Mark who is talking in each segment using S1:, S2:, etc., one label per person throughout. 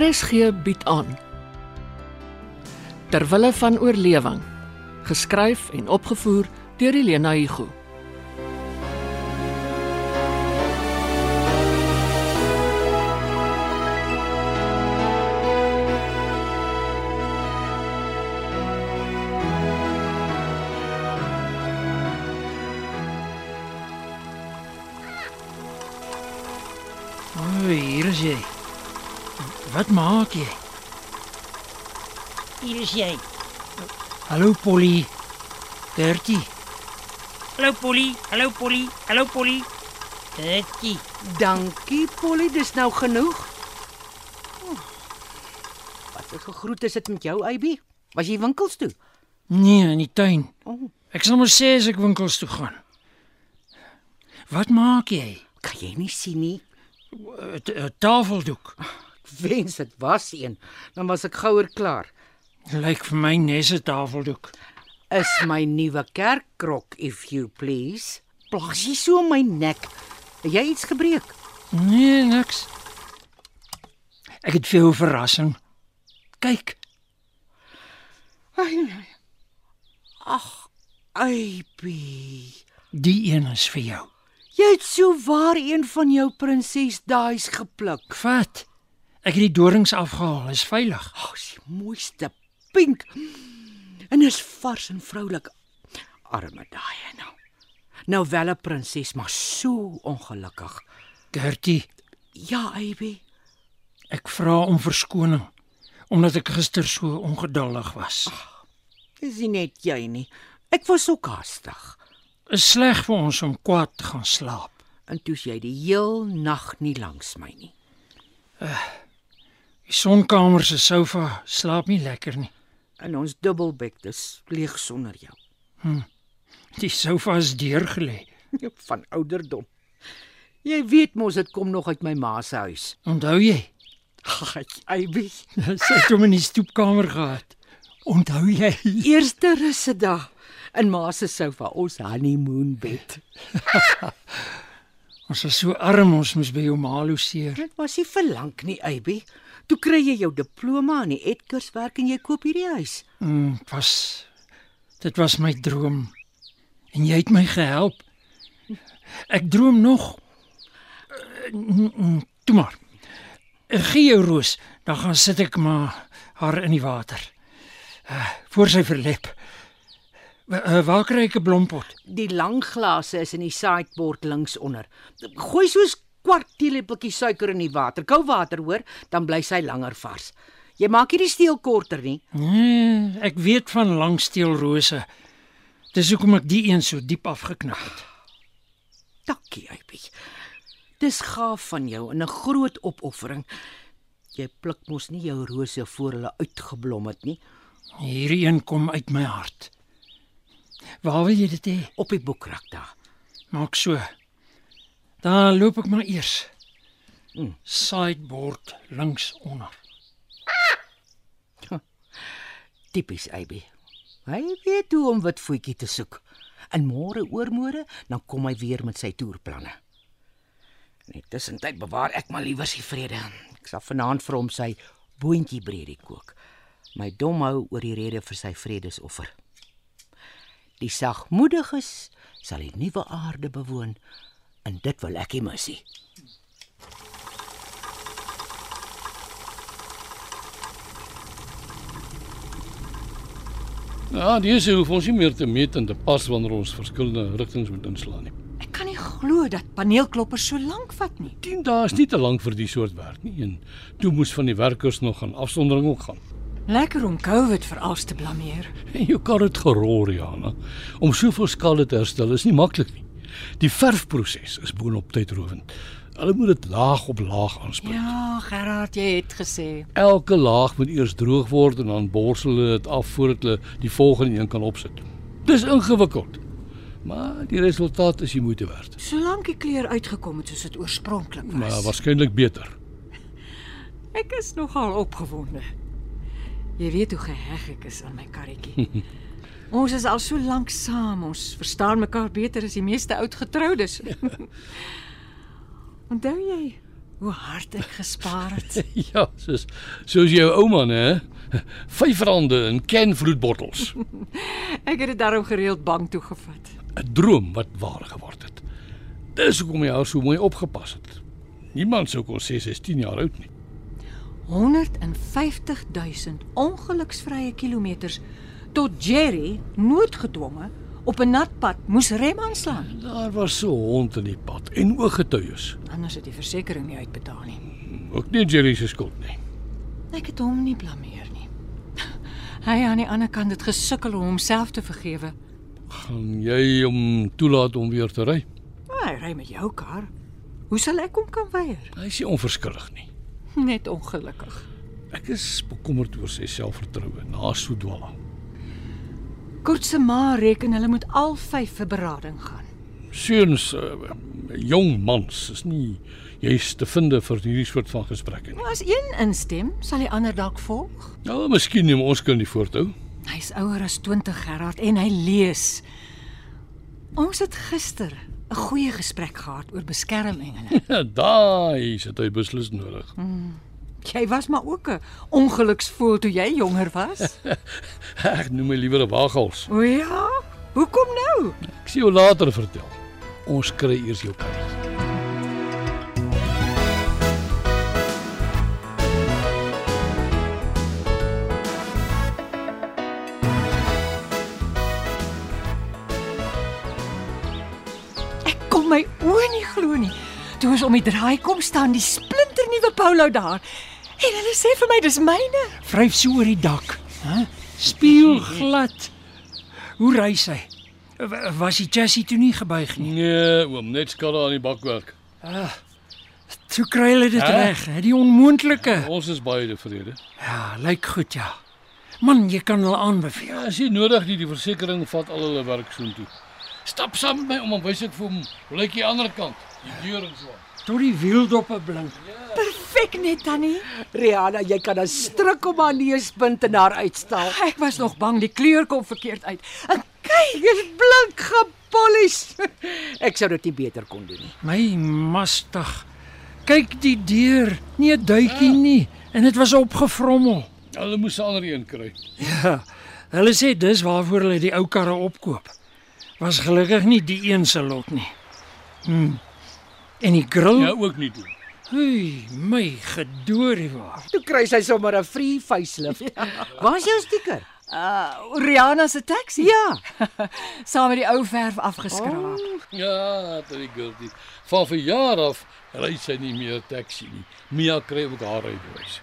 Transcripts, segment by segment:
S1: RSG bied aan Terwille van oorlewing geskryf en opgevoer deur Elena Igu
S2: O, hier is jy. Wat maak jy?
S3: Hier is jy.
S2: Hallo Polly. Gertie.
S3: Hallo Polly, hallo Polly, hallo Polly. Kitty,
S4: Dankie Polly, dis nou genoeg. Oeh, Wat 'n gegroet is dit met jou, Abby? Was jy winkels toe?
S2: Nee, in die tuin.
S4: O.
S2: Ek sal maar sê as ek winkels toe gaan. Wat maak jy?
S4: Kan jy nie sien nie?
S2: 'n t- 'n Tafeldoek.
S4: Ek wens dit was een, dan was ek gouer klaar.
S2: Lyk vir my nes 'n tafeldoek.
S4: Is my nuwe kerkkrok if you please. Plaas jy so my nek. Het jy iets gebreek?
S2: Nee, niks. Ek het vir jou 'n verrassing. Kyk,
S4: Ag, Abby.
S2: die een is vir jou.
S4: Jy het so waar een van jou prinses daai's gepluk.
S2: Vat. Ek het die dorings afgehaal, is veilig.
S4: Ag, oh, die mooiste pink. En is vars en vroulik. Arme daai nou. Nou wel 'n prinses, maar so ongelukkig.
S2: Gertie,
S4: Ja, Abby.
S2: ek vra om verskoning omdat ek gister so ongeduldig was.
S4: Dis nie net jy nie. Ek was ook haastig.
S2: Is sleg vir ons om kwaad te gaan slaap.
S4: En toe's jy die heel nag nie langs my nie.
S2: Die sonkamer se sofa slaap nie lekker nie.
S4: En ons dubbelbed is leeg sonder jou.
S2: Die sofa is deurgelê.
S4: Van ouderdom. Jy weet mos dit kom nog uit my ma se huis.
S2: Onthou jy?
S4: Ag, Abby.
S2: Sy het hom in die stoepkamer gehad. Onthou jy?
S4: Eerste rusdag in ma se sofa, ons honeymoon bed.
S2: Ons was so arm ons moes by jou ma loseer.
S4: Dit was nie verlang nie, Abby. Toe kry jy jou diploma aan die Edgerswerk en jy koop hierdie huis.
S2: Mm, dit was dit was my droom. En jy het my gehelp. Ek droom nog. Eh, mm, mm, Toe maar. Eh, Gee jou roos, dan gaan sit ek maar haar in die water. Uh, voor sy verlep. Uh, waar kry ek 'n blompot?
S4: Die lang glase is in die sideboard links onder. Gooi soos kwart teelepeltjie suiker in die water, kou water hoor, dan bly sy langer vars. Jy maak hierdie steel korter nie.
S2: Nee, ek weet van langsteelrose. Dis hoekom ek die een so diep afgeknip het.
S4: Dankie, Abby. Dis gaaf van jou en 'n groot opoffering. Jy pluk mos nie jou rose voor hulle uitgeblom het nie
S2: Hierdie een kom uit my hart. Waar wil jy dit hê?
S4: op die boekrak daar.
S2: Maak so. Daar loop ek maar eers. Sideboard links onder.
S4: Tipies Abby. Hy weet hoe om wit voetjie te soek. En môre oormôre dan kom hy weer met sy toerplanne. Net tussentyd bewaar ek maar liewer sy vrede. Ek sal vanaand vir hom sy boontjie breedie kook. My dom hou oor die rede vir sy vredesoffer. Die sagmoediges sal die nuwe aarde bewoon en dit wil ek nie mis nie.
S5: Ja, dis hoe ons nie meer te meet en te pas wanneer ons verskillende rigtings moet inslaan nie.
S6: Ek kan nie glo dat paneelkloppers so lank vat nie.
S5: 10 dae is nie te lank vir die soort werk nie en toe moes van die werkers nog aan afsondering ook gaan.
S6: Lekker om COVID vir alles te blameer.
S5: En jou kar het geroer, Jana. Om soveel skade te herstel is nie maklik nie. Die verfproses is boonop tydrowend. Hulle moet dit laag op laag aanspreek. Ja.
S6: Ja, Gerard, jy het gesê.
S5: Elke laag moet eers droog word en dan borsel hulle dit af voordat hulle die volgende een kan opsit. Dis ingewikkeld. Maar die resultaat is die moeite werd.
S6: Solank die kleur uitgekom het soos dit oorspronklik was.
S5: Maar waarskynlik beter.
S6: Ek is nogal opgewonde. Jy weet hoe geheg ek is aan my karretjie. ons is al so lank saam, ons verstaan mekaar beter as die meeste oudgetroudes. Onthou jy hoe hard ek gespaar het.
S5: Ja, soos soos jou ouma nê. Vyf rande in kenvloedbottels.
S6: Ek het dit daarom gereeld bank toe gevat.
S5: 'n Droom wat waar geword het. Dis hoekom jy haar so mooi opgepas het. Niemand sou kon sê sy is 10 jaar oud nie.
S6: 150000 ongeluksvrye kilometers tot Jerry noodgedwonge op 'n nat pad moes rem aanslaan.
S5: Daar was so 'n hond in die pad en ooggetuies.
S6: Anders het die versekering nie uitbetaal nie.
S5: Ook nie Jerry se skuld nie.
S6: Ek het hom nie blameer nie. Hy aan die ander kant het gesukkel om homself te vergewe.
S5: Gaan jy hom toelaat om weer te ry?
S6: Maar Hy ry met jou kar. Hoe sal ek hom kan weier?
S5: Hy is nie onverskillig nie.
S6: Net ongelukkig.
S5: Ek is bekommerd oor sy selfvertroue na so dwala.
S6: Kurt se ma reken hulle moet al vyf vir berading gaan.
S5: Seuns, uh, jong mans is nie jy's te vind vir hierdie soort van gesprekke nie.
S6: Maar as een instem, sal die ander dalk volg.
S5: Nou, miskien neem ons kan die voortou.
S6: Hy's ouer as 20 Gerard en hy lees. Ons het gister 'n goeie gesprek gehad oor beskermengele.
S5: Ja, daai sit hy beslis nodig.
S6: Jy was maar ook 'n ongeluksvoel toe jy jonger was.
S5: Ek noem my liewer 'n waaghals.
S6: O ja, hoekom nou?
S5: Ek sien jou later vertel. Ons kry eers jou kaartjie.
S6: Ek kon my oë nie glo nie. Toe ons om die draai kom staan die splinternuwe Polo daar. En hulle sê vir my dis myne.
S2: Vryf so oor die dak, hè? Spieelglad. Hoe ry sy? W- Was die chassis toe nie gebuig nie?
S5: Nee, oom, net skade aan die bakwerk.
S2: Toe kry hulle dit
S5: Hè?
S2: reg, hè? Die onmoontlike.
S5: Ons is baie tevrede.
S2: Ja, lyk goed ja. Man, jy kan hulle aanbeveel.
S5: Ja, as jy nodig nie die versekerings vat al hulle werk soontoe. Stap saam met my om hom wys ek vir hom hoe lyk die ander kant, die deur en so.
S2: Tot die wieldoppe blink.
S6: Perfek net tannie.
S4: Rihanna, jy kan 'n stryk om haar neuspunt en haar uitstaal.
S6: Ek was nog bang die kleur kom verkeerd uit. En kyk, dis blink gepolish.
S4: Ek sou dit nie beter kon doen nie.
S2: My mastig. Kyk die deur, nie 'n duitjie nie en dit was opgevrommel.
S5: Hulle moes 'n ander een kry.
S2: Hulle sê dis waarvoor hulle die ou karre opkoop. Was gelukkig nie die een se lot nie. Hm. En die grill?
S5: Ja,
S2: Ja.
S5: ook nie toe.
S2: Hei, my gedorie waar.
S4: Toe kry sy sommer 'n free facelift. Ja. Waar is jou stiker?
S6: Uh, Rihanna se taxi.
S4: Ja,
S6: Saam met die ou verf afgeskraap. Oh.
S5: Ja, dit is guldig. Van verjaar af ry sy nie meer taxi nie. Mia kry ook haar rybewyse.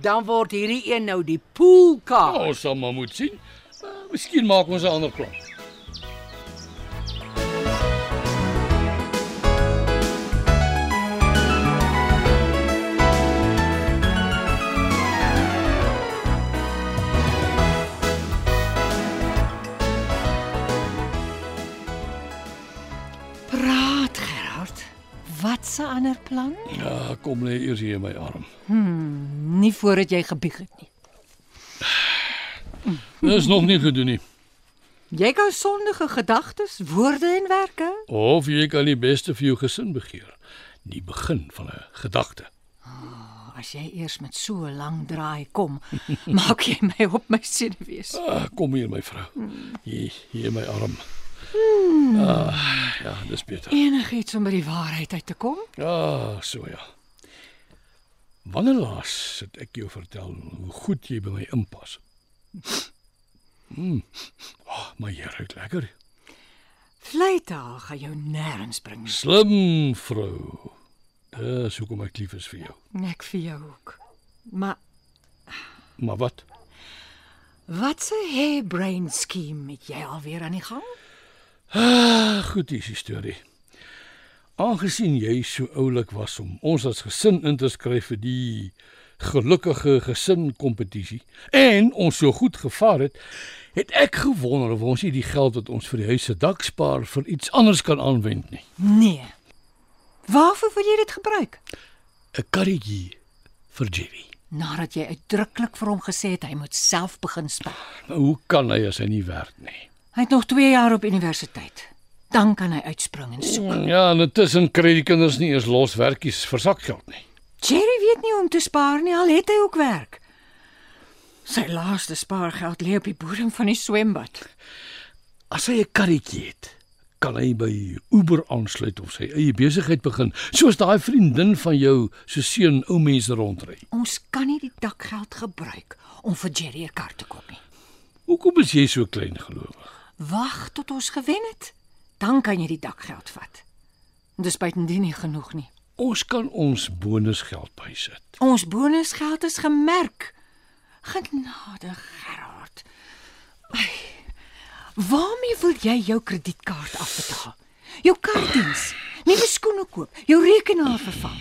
S4: dan word hierdie een nou die poolkaart.
S5: Ons sal maar moet sien. Maar Miskien maak ons 'n ander plan.
S6: Praat Gerard. Wat 'n ander plan?
S5: Ja, kom lê eers hier in my arm.
S6: Nie voordat jy gebieg het nie.
S5: Dis nog nie gedoen nie.
S6: Jy kan sondige gedagtes, woorde en werke.
S5: Of jy kan die beste vir jou gesin begeer. Die begin van 'n gedagte.
S6: As jy eers met so 'n lang draai kom, maak jy my op my senuwees.
S5: Ah, kom hier my vrou. Hier, hier in my arm. Ah, ja, dis beter.
S6: Enigiets om by die waarheid uit te kom?
S5: Ah, so ja. Wanneer laas het ek jou vertel hoe goed jy by my inpas? Mm. Oh, my Here, dit lekker.
S6: Vleitaal gaan jou nêrens bring. nie.
S5: Slim vrou. Dis hoekom ek lief is vir jou.
S6: Ek vir jou ook. Maar
S5: Maar wat?
S6: wat 'n harebrain scheme het jy alweer aan die gang?
S5: Ah, goed is die storie. Aangesien jy so oulik was om ons as gesin in te skryf vir die gelukkige gesin kompetisie en ons so goed gevaar het, het ek gewonder of ons nie die geld wat ons vir die huis se dak spaar vir iets anders kan aanwend nie.
S6: Nee. Waarvoor wil jy dit gebruik?
S5: 'n Karretjie vir Jerry.
S6: Nadat jy uitdruklik vir hom gesê het hy moet self begin spaar.
S5: Nou, Maar hoe kan hy as hy nie werk nie?
S6: Hy het nog 2 jaar op universiteit. dan kan hy uitspring en soek.
S5: Ja, en intussen kry die kinders nie eens los werkies vir sakgeld nie.
S6: Jerry weet nie hoe om te spaar nie, al het hy ook werk. Sy laaste spaargeld lê op die bodem van die swembad.
S5: As hy 'n karretjie het, kan hy by Uber aansluit of sy eie besigheid begin, soos daai vriendin van jou se seun ou mense rondry.
S6: Ons kan nie die dakgeld gebruik om vir Jerry 'n kar te koop nie.
S5: Hoekom is jy so klein gelowig?
S6: Wag tot ons gewen het, dan kan jy die dakgeld vat. En Dis buitendien nie genoeg nie.
S5: Ons kan ons bonusgeld bysit.
S6: Ons bonusgeld is gemerk. Genade Gerard. Ai, Waarmee wil jy jou kredietkaart afbetaal? Jou kaartdiens, nuwe skoene koop, jou rekenaar vervang.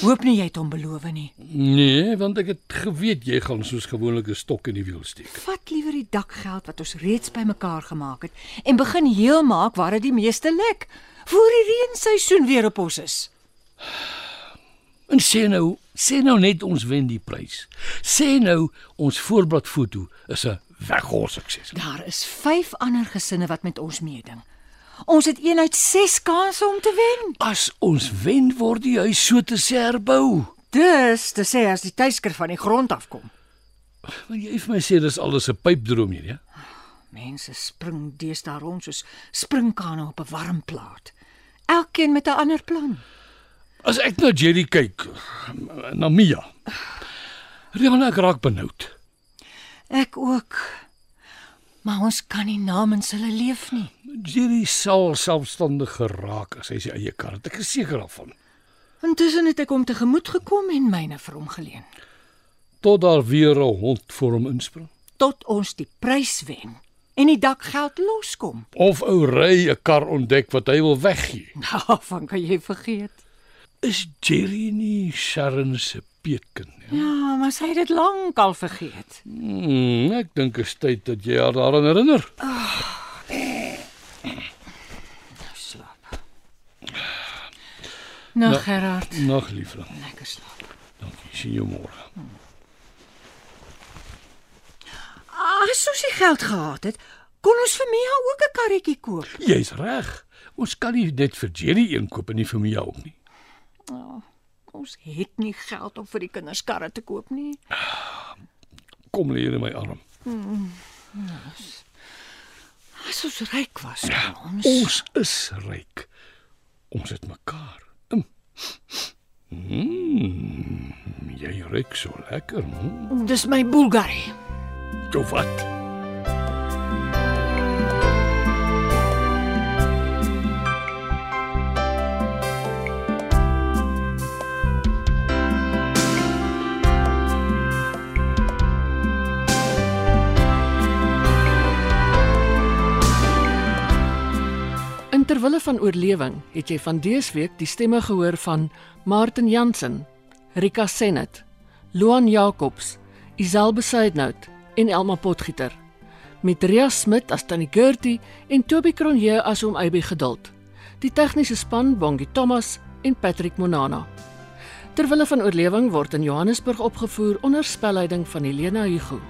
S6: Hoop nie jy het hom beloof nie.
S5: Nee, want ek het geweet jy gaan soos gewoonlik 'n stok in die wiel steek.
S6: Vat liewer die dakgeld wat ons reeds bymekaar gemaak het en begin heel maak waar dit die meeste lek voor die reenseisoen weer op ons is.
S5: En sê nou, sê nou net ons wen die prys. Sê nou ons voorbladfoto is 'n weggooi sukses.
S6: Daar is 5 ander gesinne wat met ons meeding. Ons het 1 uit 6 kansse om te wen.
S5: As ons wen word die huis so te sê herbou.
S6: Dis te sê as die tuisker van die grond afkom.
S5: Wil jy vir my sê dis alles 'n pypdroom hier, ja?
S6: Mense spring deesdae rond soos springkane op 'n warm plaat. Elkeen met 'n ander plan.
S5: As ek na Jerry kyk, na Mia. Rihanna ek raak benoud.
S6: Ek ook. Maar ons kan nie namens hulle leef nie.
S5: Jerry sal selfstandig geraak as hy sy eie kar het. Ek is seker daarvan.
S6: Intussen het ek hom tegemoet gekom en myne vir hom geleen
S5: Tot daar weer 'n hond vir hom inspring.
S6: tot ons die prys wen en die dakgeld loskom.
S5: Of ou ry 'n kar ontdek wat hy wil weggee.
S6: Daarvan kan jy vergeet.
S5: Is Jerry nie Sharon se peetkind nie?
S6: Ja, maar sy het dit lank al vergeet.
S5: Hmm, ek dink dit is tyd dat jy haar daaraan herinner.
S6: Nou slaap. Nou Gerard,
S5: Nag, liefling.
S6: lekker slaap.
S5: Dankie. Sien jou môre.
S6: As ons die Ah, geld gehad het, kon ons vir Mia ook 'n karretjie koop.
S5: Jy's reg. Ons kan nie net vir Jerry een koop en nie vir my ook nie.
S6: Ons het nie geld om vir die kinders karre te koop nie.
S5: Kom lê hier in my arm.
S6: As ons ryk was, kon ons
S5: Ons is ryk. Ons het mekaar. Mm. Mm, jy ruik so lekker. Mm.
S6: Dis my Bulgari.
S5: Of wat?
S1: In terwille van oorlewing het jy van dese week die stemme gehoor van Martin Jansen, Rika Senet, Loan Jacobs, Isel Besaidnout en Elma Potgieter. Met Ria Smit as Tannie Gertie en Toby Cronje as oom Aby Geduld. Die tegniese span Bongie Thomas en Patrick Monana. Terwille van oorlewing word in Johannesburg opgevoer onder spelleiding van Helena Hugo.